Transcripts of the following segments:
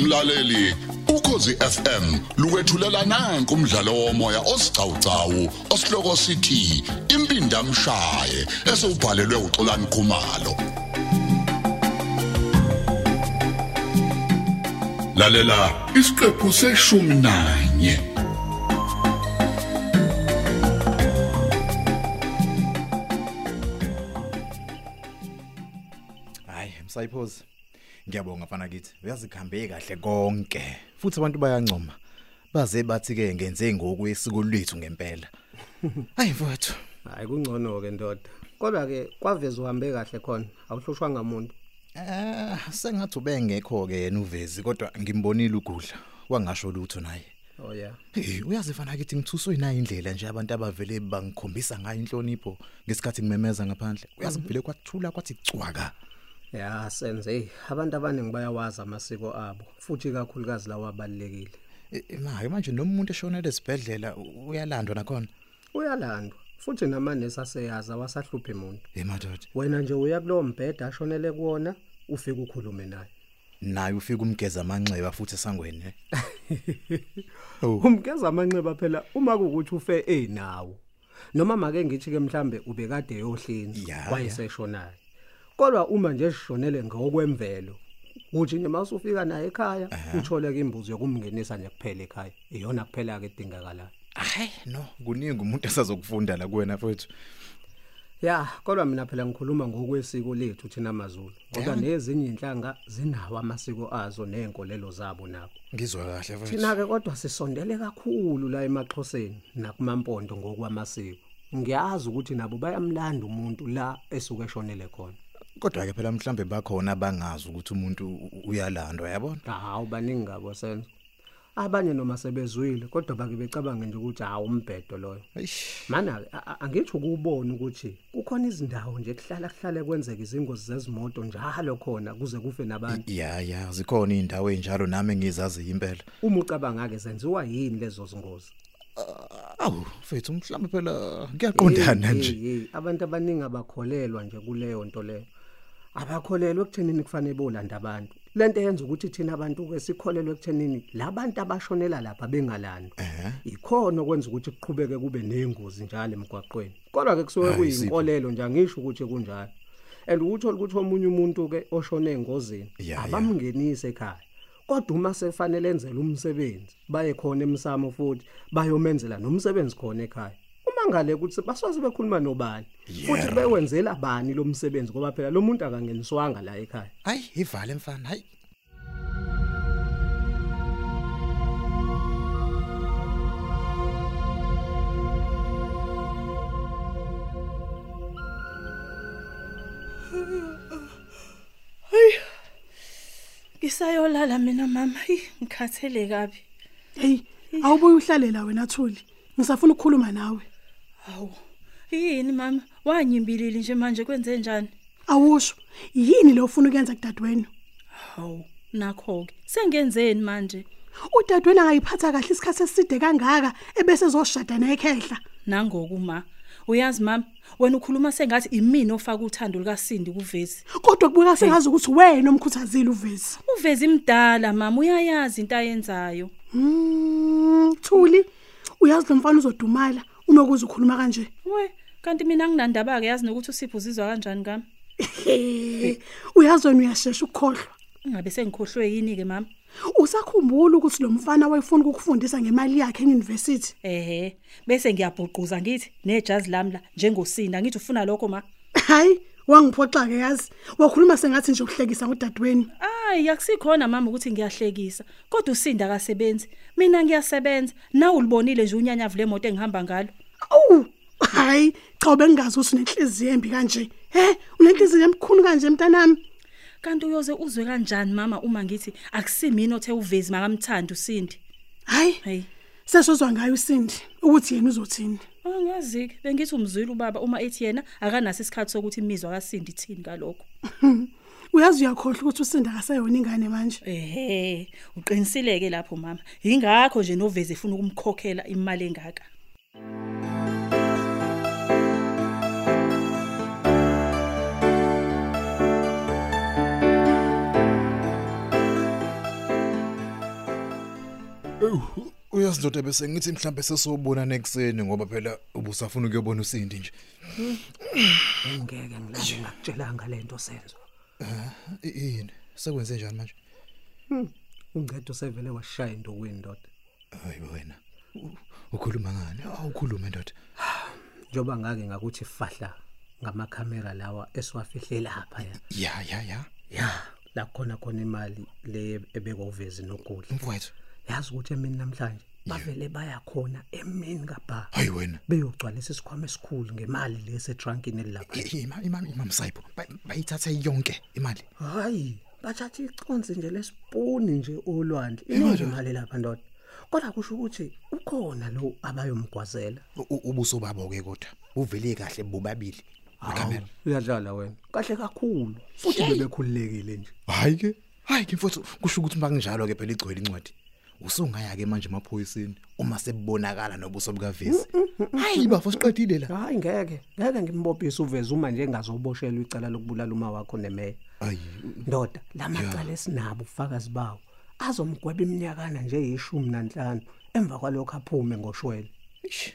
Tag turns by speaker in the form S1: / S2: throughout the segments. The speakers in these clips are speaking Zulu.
S1: mlaleli ukhosi FM lukwethulela nanku umdlalo womoya osiqhawqhawo osihloko sithi impindi amshaye esubhalelwe uXolani Khumalo lalela isiqephu seshumi nanye
S2: Hayi, msayiphoza. Ngiyabonga mfana kithi. Uyazikhambe kahle konke. Futhi abantu bayancoma. Baze bathi ke ngenze ngokwesiko lethu ngempela. Hayi mfowethu.
S3: Hayi kungcono ke ndoda. Kodwa ke kwavezwa uhambe kahle khona, awuhlushwa ngamuntu.
S2: Eh, sengathi ubengekho ke yena uvezi kodwa ngimbonile ugudla. Wangasho lutho naye.
S3: Oh yeah.
S2: Hey, uyazi mfana kithi ngithuswe nayo indlela nje abantu abavele bangikhombisa ngayo inhlonipho ngesikhathi ngimemeza ngaphandle. Uyazi vele kwathula kwathi cwaka.
S3: Ya senze abantu abaningi bayawazi amasiko abo, futhi kakhulukazi lawo abalekile.
S2: Eh, eh, Manje manje noma umuntu eshonele esibhedlela u- uyalandwa nakhona.
S3: Uyalandwa, futhi namanesi aseyazi awasahluphi umuntu.
S2: Hey madoda.
S3: Wena nje uya kulowo mbheda ashonele kuwona, ufike ukhulume naye.
S2: naye ufika umgeza amanxeba futhi esangweni eh?
S3: Umkeza amanxeba phela uma kuwukuthi ufe enawo. Noma make ngithi ke mhlambe ubekade
S2: Ya,
S3: yohlinza
S2: ya.
S3: wayeseshonayo. Kodwa uma nje sishonele ngokwemvelo, uthi nje mawusufika naye ekhaya, uthole ke imbuzi yokumngenisa nje kuphela ekhaya. Iyona kuphela ke edingakalayo.
S2: hayi no kuningi umuntu esazokufunda la kuwena mfowethu
S3: Ya, kodwa mina phela ngikhuluma ngokwesiko lethu thina maZulu. Ngoba nezinye inhlanga zinawo amasiko azo nenkolelo zabo nabo.
S2: ngizwa kahle mfowethu
S3: Thina ke kodwa sisondele kakhulu la emaXhoseni nakumampondo ngokwamasiko. Ngiyazi ukuthi nabo bayamlanda umuntu la esuke eshonele khona.
S2: kodwa ke phela mhlambe bakhona bangazi ukuthi umuntu u- u- uyalandwa yabona
S3: Hawu baningi ngabo senzo. Abanye noma sebezwile kodwa bake becabanga nje ukuthi hawu umbhedo loyo.
S2: eish
S3: Mana ke, a- a- angithi ukubona ukuthi kukhona izindawo nje kuhlala kuhlale kwenzeka izingozi zezimoto njalo khona kuze kufe nabantu.
S2: ya ya zikhona izindawo enjalo nami ngizazi impela
S3: Uma ucabanga ke senziwa yini lezo zingozi?
S2: Ah, awu mfowethu mhlambe phela kuyaqondana
S3: Hey,
S2: nje
S3: hey, hey, abantu abaningi abakholelwa nje kuleyo nto leyo abakholelwa ekuthenini kufanele bolanda abantu lento yenza ukuthi thina abantu ke sikholelwe ekuthenini labantu abashonela lapha bengalandi ikhono kwenza ukuthi kuqhubeke kube nengozi njalo emgwaqweni kodwa ke kusuke
S2: Hayi, Sipho.
S3: kuyinkolelo nje angisho ukuthi kunjalo and ukuthola ukuthi omunye umuntu ke oshone engozini
S2: Ya, ya.
S3: abamngenise ekhaya kodwa uma sefanele enzela umsebenzi baye khona emsamo futhi bayomenzela nomsebenzi khona ekhaya uma ngale ukuthi basoze bekhuluma nobani futhi
S2: Yeah.
S3: bewenzela bani lo msebenzi ngoba phela lo muntu akangeniswanga la ekhaya
S2: hayi ivale mfana hayi
S4: Ngisayolala mina mama, hi ngikhathele kabi.
S5: Hey, awubuye uhlale la wena Thuli. Ngisafuna ukukhuluma nawe.
S4: Hawu. Yini mama? Wanyimbilili nje manje kwenze njani?
S5: Awusho, yini lo ufuna ukwenza kudadweni?
S4: Hawu, nakho ke. Sengenzeni manje?
S5: Udadweni angayiphatha kahle isikhathi eside kangaka ebese ezoshada naye ekhehla.
S4: Nangokuma. Uyazi mama, wena ukhuluma sengathi imini ofaka uthando likaSindi kuvezi.
S5: Kodwa kubuka sengazi ukuthi wena omkhuthazile uvezi.
S4: Uvezi imdala mama, uyayazi into ayenzayo.
S5: Mm, Thuli, uyazi lo mfana uzodumala uma kuze ukhuluma kanje.
S4: We, kanti mina nginandaba ke yazi nokuthi usipho uzizwa kanjani kami.
S5: Hey, uyazi wena uyashesha ukukhohlwa.
S4: Ngabe sengikhohlwe yini ke mama?
S5: Usakhumbula ukuthi lo mfana wayefuna ukukufundisa ngemali yakhe e-university.
S4: Ehhe, bese ngiyabhuquza ngithi nejazi lami la njengosinda ngithi ufuna lokho ma.
S5: Hayi, wangiphoxa ke yazi. Wakhuluma sengathi nje ukuhlekisa ngudadweni.
S4: Ay, akusikhona mama ukuthi ngiyahlekisa. Kodwa usinda akasebenzi. Mina ngiyasebenza. Na ulibonile nje unyanyavu lemoto engihamba ngalo.
S5: Awu, hayi, cha bengazi ukuthi unenhliziyo embi kanje. He, unenhliziyo emkhulu kanje mntanami.
S4: Kanti uyoze uzwe kanjani mama uma ngithi akusimini othe uvezi makamthanda usindi.
S5: Hayi,
S4: Hey.
S5: sesozwa ngayo uSindi ukuthi yena uzothini.
S4: Angazike Ah, bengithi umzwile ubaba uma ethi yena akanaso isikhathi sokuthi imizwa kaSindi ithini kalokho.
S5: Uyazi uyakhohlwa ukuthi uSindi akaseyona ingane manje.
S4: Ehhe, uqinisileke lapho mama. Ingakho nje novezi efuna ukumkhokhela imali engaka.
S2: uyasindoda bese ngithi mhlambe sesobona nekuseni ngoba phela ubusafuna ukuyobona uSindi nje
S3: ngeke ngilale ngakutshelanga lento senzo
S2: I- yini sekwenze njani manje
S3: ungcede usevele washaya indokweni ndoda
S2: hayi wena u- ukhuluma ngani awukhulume ndoda
S3: njoba ngake ngakuthi fahla ngamakhamera lawa esiwafihle lapha ya
S2: ya ya ya
S3: ya la khona khona imali le ebekovezi nokudla
S2: mfowethu
S3: yazi ukuthi emini namhlanje bavele baya khona emini kabha
S2: hayi wena
S3: beyogcwalisa isikhwama esikhulu ngemali lesetrankini elilapha
S2: I- ima- ima- imamsayipho bay- bayithatha yonke imali
S3: hayi bathatha iconsi nje lesipuni nje olwandle iningi imali lapha ndoda kodwa kusho ukuthi ukhona lo abayomgwazela
S2: U- u- ubuso babo ke kodwa uvele kahle bobabili ikamera
S3: uyadlala wena kahle kakhulu futhi bebekhululekile nje
S2: hayi ke hayi ke mfowethu kusho ukuthi makunjalo ke phela igcwele incwadi usungaya ke manje emaphoyiseni uma sebonakala nobuso bukavisi hayi bafo siqedile la
S3: hayi ngeke ngeke ngimbophise uveze uma nje engazoboshelwa icala lokubulala uma wakho nemeya
S2: ayi
S3: ndoda lamacala esinabo ufakazi bawo azomgweba iminyakana nje yishumi nanhlanu emva kwalokho aphume ngoshwele
S2: ish.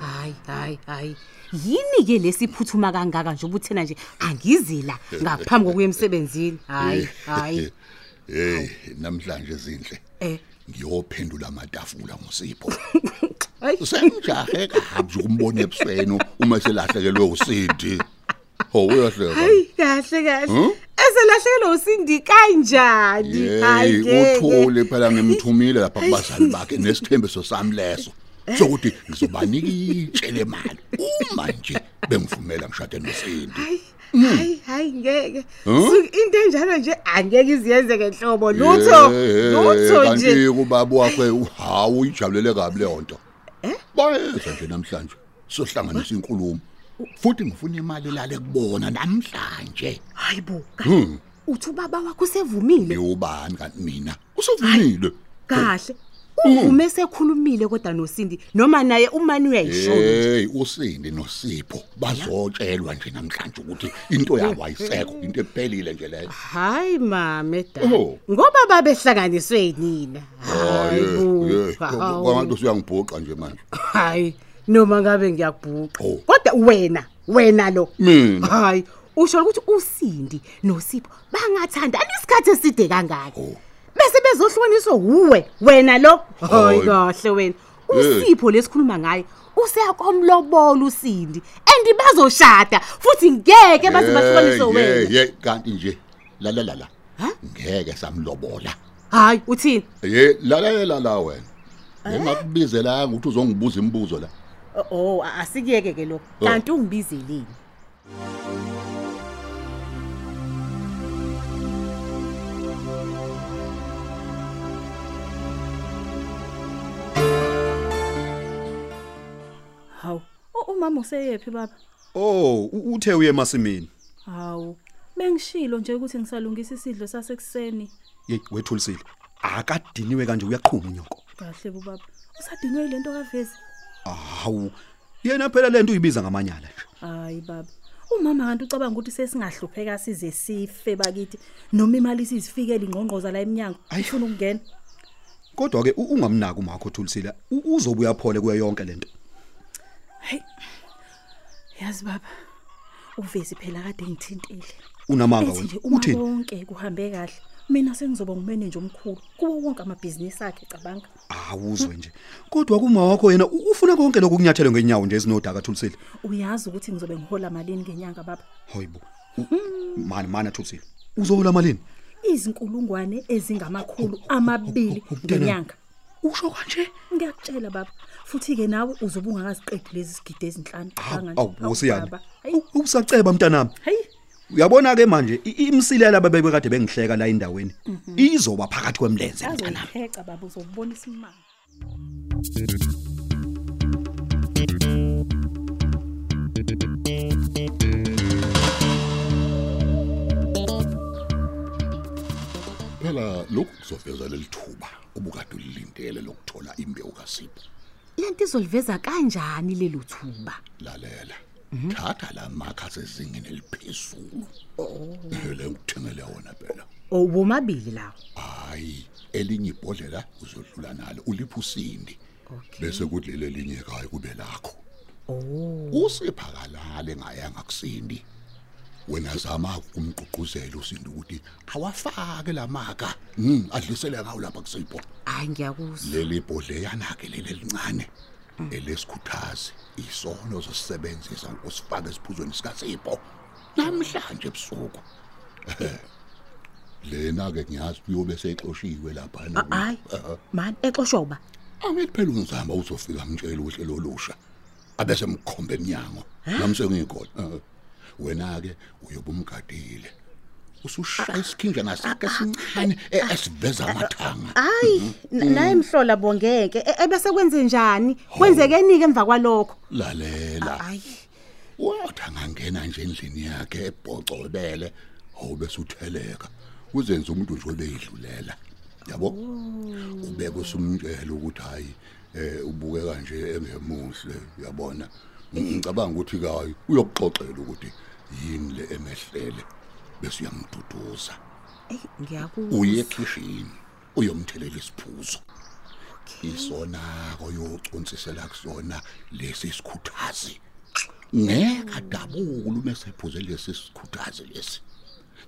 S6: hayi hayi hayi yini-ke lesiphuthuma kangaka nje ubuthena nje angizila ngaphambi kokuya emsebenzini hayi
S1: Eh,
S6: hayi
S1: hey namhlanje zindle
S6: Eh.
S1: ngiyophendula amatafula ngosipho
S6: Ayi.
S1: eh, sengijahe kahambi ukumbona ebusweni uma selahlekelwe usindi ho uyahleka
S6: kahle kahle
S1: eh, Hmm?
S6: eselahlekelwe usindi kanjani
S1: hey uthule phela ngimthumile lapha kubazali bakhe nesithembiso sami leso sokuthi ngizobanika itshele imali uma nje bengivumela ngishade nosindi
S6: hayi hayi ngeke
S1: Hmm?
S6: Su- into enjalo nje angeke iziyenzeke nhlobo lutho lutho nje
S1: eh, kanti kubaba wakhe hawu uyijabulele kabi leyo nto
S6: Eh?
S1: bayeza nje namhlanje sohlanganisa inkulumo futhi ngifuna imali lale kubona namhlanje
S6: hayi bo
S1: Hmm.
S6: uthi ubaba wakho usevumile
S1: yobani kanti mina usuvumile
S6: kahle
S1: Hmm.
S6: uvume sekhulumile kodwa nosindi noma naye umani uyayishona
S1: hey usindi nosipho bazotshelwa nje namhlanje ukuthi into yabo ayisekho into ephelile nje leyo
S6: hayi mame da
S1: Oh.
S6: ngoba babehlanganiswe nina hayi Ah. bo, hawu.
S1: kwangathi usuyangibhuqa nje manje
S6: hayi noma ngabe ngiyakubhuqa
S1: Oh.
S6: kodwa wena wena lo
S1: Mina?
S6: hayi usho ukuthi usindi nosipho bangathandani isikhathi eside kangaka
S1: Oh.
S6: bese bezohlukaniswa wuwe wena lo hayi
S1: Hayi.
S6: kahle wena
S1: Eh.
S6: usipho lesikhuluma ngaye useyakomlobola usindi and bazoshada futhi ngeke baze bahlukaniswe
S1: Yeah, yeah,
S6: wena
S1: yeah, kanti nje lalalala ngeke samlobola
S6: hayi uthini
S1: ye lalalela la wena ngingakubizela ukuthi uzongibuza imibuzo la
S6: Oh, oh asikiyeke ke lokho
S1: Oh.
S6: kanti ungibizelini
S4: hawu u- umama useyephi baba
S7: Oh, u- uthe uye emasimini.
S4: hawu bengishilo nje ukuthi ngisalungisa isidlo sasekuseni
S7: Yey, wethulisile. Akadiniwe kanje uyaqhuma unyoko.
S4: kahle bubaba usadinwe yile nto kavezi
S7: Hawu. Yena phela lento uyibiza ngamanyala nje.
S4: hayi baba umama kanti ucabanga ukuthi sesingahlupheka size sife bakithi noma imali sizifikele ingqongqoza la eminyango
S7: Ayi.
S4: ifuna ukungena
S7: Kodwa ke ungamnaki umakho uthulisile. U- Uzobuya phole kuyo yonke lento.
S4: yazi baba uvezi phela kade ngithintile
S7: Unamanga
S4: ethi nje
S7: wena.
S4: uma
S7: Uthini?
S4: konke kuhambe kahle mina sengizoba ngumenenje omkhulu kuwo wonke amabhizinisi akhe cabanga
S7: Awuzwe nje. Kodwa kumawakho yena u- ufuna konke lokhu kunyathelo ngenyawo nje ezinodaka thulisile.
S4: uyazi ukuthi ngizobe ngihola malini ngenyanga baba
S7: Hoyibo. U- Mani mani thulisile. Uzohola malini?
S4: izinkulungwane ezingamakhulu amabili
S7: Mntanami.
S4: ngenyanga
S7: Usho kanje?
S4: ngiyakutshela baba futhi-ke nawe uzobe ungakaziqedi lezi zigidi ezinhlanu Cabanga nje.
S7: Awu
S4: Hawu,
S7: usiyani.
S4: baba. Hayi,
S7: U- Usaceba mntanami.
S4: hayi
S7: uyabona ke manje i- imsilela ababekwe kade bengihleka la endaweni
S4: Mhm.
S7: izoba phakathi kwemlenze mntanami
S4: azoyipheca baba uzobona isimanga
S1: phela lokhu kuzoveza leli thuba obukade ulilindele lokuthola imbewu kasipho
S6: lento izoliveza kanjani lelo thuba
S1: lalela thatha la makha sezingeni eliphezulu le ngikuthengele wona phela
S6: Oh, owomabili lawo
S1: hayi elinye ibhodlela uzodlula nalo ulipha usindi bese kudlile elinye ekhaya kube lakho usiphakalale ngayanga kusindi wena zama ukumgqugquzela usindi ukuthi awafake lamaka mm, adlulisele ngawo lapha kusipho
S6: hayi ngiyakuzwa
S1: leli bhodleyana ke leli elincane elesikhuthazi isono zosebenzisa ukusifaka esiphuzweni sikasipho namhlanje ebusuku lena ke ngiyazi kuyobe seyixoshiwe lapha Ah,
S6: hayi
S1: Uh-uh.
S6: mani exoshoba
S1: angithi phela unzama uzofika mtshela uhlelo olusha abese mkhombe eminyango namse ngikhona wena ke Ah, uyobe umgadile usushaya isikhinja ngasake sincane e- esiveza
S6: ah,
S1: amathanga
S6: hayi naye mhlola bongeke E- ebese kwenze njani kwenzekeni-ke emva kwalokho
S1: lalela
S6: hayi
S1: wathi angangena nje endlini yakhe ebhocobele awube sutheleka kuzenza umuntu nje obeyidlulela yabo ubeke usumtshela ukuthi hayi eh ubukeka nje engemuhle uyabona ngicabanga ukuthi kayi uyokuxoxela ukuthi yini le emehlele bese uyamduduza
S6: eyi ngiyakuzwa
S1: uye ekhishini uyomthelela isiphuzo isona koyocunsisela kusona lesi sikhuthazi ngeke adabule umesephuze lesi sikhuthazi lesi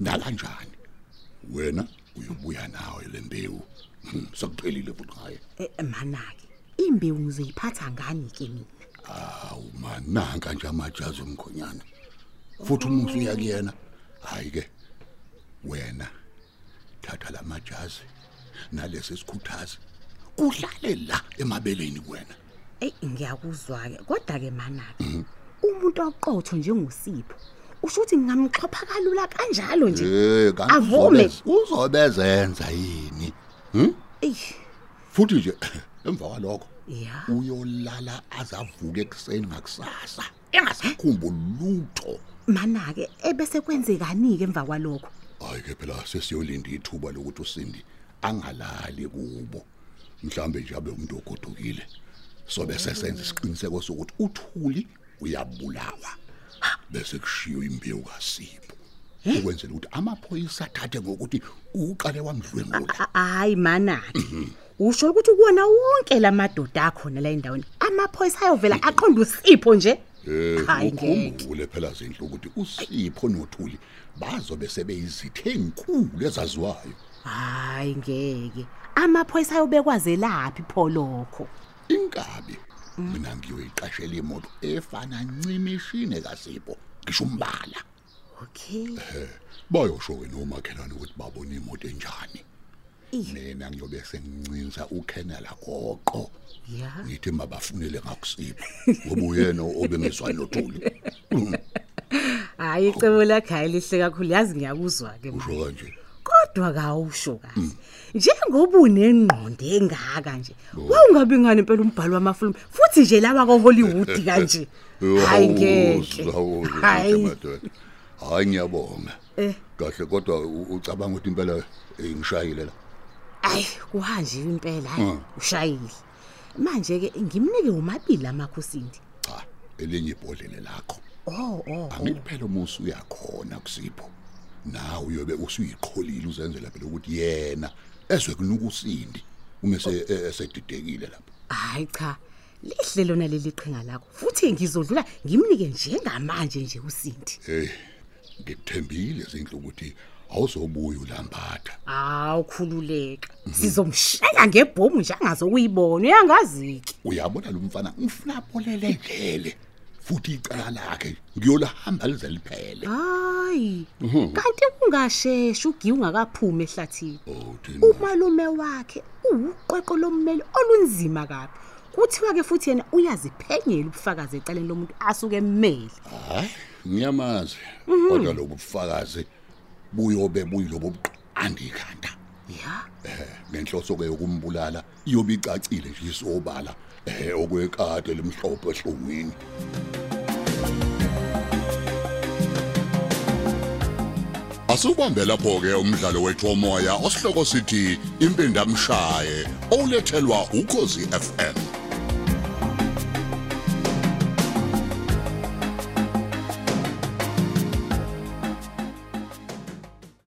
S1: nakanjani wena uyobuya nawe lembewu Hmm, sekuphelile futhi ngaye
S6: E- e, mana-ke imbewu ngizoyiphatha ngani-ke mina
S1: awu mananka nje amajazi omkhonyana futhi umusa uya kuyena hayi ke wena thatha la majazi nalesi sikhuthazi kuhlale la emabeleni kwena
S6: eyi ngiyakuzwa-ke kodwa-ke mana-ke umuntu oqotho njengosipho usho ukuthi ngingamxhopha kalula kanjalo nje
S1: Eh, kanti
S6: Avume.
S1: uzobe- uzobezenza yini
S6: eyi
S1: futhi nje emva kwalokho
S6: ya
S1: uyolala azavuka ekuseni ngakusasa engasakhumbuli lutho
S6: mana-ke ebese kwenzekani-ke emva kwalokho
S1: hayi ke phela sesiyolinda ithuba lokuthi usindi angalali kubo mhlambe nje abe umuntu ogodukile sobe sesenza isiqiniseko sokuthi uthuli uyabulawa bese kushiywe imbewu kasipho ukwenzela ukuthi amaphoyisa athathe ngokuthi uqale wamdlwengula
S6: A- hhayi mana-ke usho ukuthi kuwona wonke la madoda akhona la endaweni amaphoyisa ayovela aqonde usipho nje hayi ngeke
S1: ukhumbule Eh, phela zinhle ukuthi usipho nothuli bazobe sebeyizithe enkulu ezaziwayo
S6: hhayi ngeke amaphoyisa ayobekwazelaphi pho lokho
S1: inkabi mina ngiyoyiqashela imoto efana ncimishine kasipho ngisho umbala
S6: okay
S1: bayosho-ke nomakhelwane ukuthi babone imoto enjani
S6: Ih.
S1: mina ngiyobe sengincinza ukhenela goqo
S6: ya
S1: ngithi mabafunele ngakusipho ngoba uyena obengezwani nothuli Mm,
S6: hhayi icebo lakhe hayi lihle kakhulu yazi ngiyakuzwa-ke ma.
S1: usho kanje
S6: kodwa kawusho kahle njengoba unengqondo engaka nje wawungabingani impela umbhalo wamafilimu futhi nje lawa kwahollywood kanje hayi ngeke hayi
S1: ngeke hayi ngiyabonga
S6: Eh.
S1: kahle kodwa u- ucabanga ukuthi impela eh, ngishayile la
S6: ayi kuhanjiwe impela hayi ushayile manje-ke ngimnike umabili amakhusindi
S1: cha elinye ibhodlele lakho
S6: o o
S1: angithi phela umusa uyakhona kusipho nawe uyobe usuyiqholile uzenzela phela ukuthi yena ezwe kunuka usindi uma ese- e- esedidekile lapho
S6: hhayi cha lihle lona leli qhinga lakho futhi ngizodlula ngimnike njengamanje nje usindi
S1: hey ngikuthembile zinhle ukuthi awuzobuya ulambatha
S6: awu khululeka sizomshela ngebhomu nje angazokuyibona uyangazi-ke
S1: uyabona lo mfana ufuna apholele ndlele futhi icala lakhe ngiyolahamba lize liphele
S6: hayi kanti kungasheshe ugiwe ungakaphumi ehlathini
S1: Oh, thina.
S6: umalume wakhe uwuqweqo lommeli olunzima kabi kuthiwa-ke futhi yena uyaziphenyela ubufakazi ecaleni lomuntu asuke emmeli
S1: hayi ngiyamazi kodwa lobu bufakazi buyobe buyilobo buqanda ikhanda
S6: ya
S1: eh ngenhloso-ke yokumbulala iyobe icacile nje isobala eh okwekade limhlophe ehlungwini Asubambe lapho ke umdlalo wethu womoya osihloko sithi impindamshaye olethelwa ukozi FM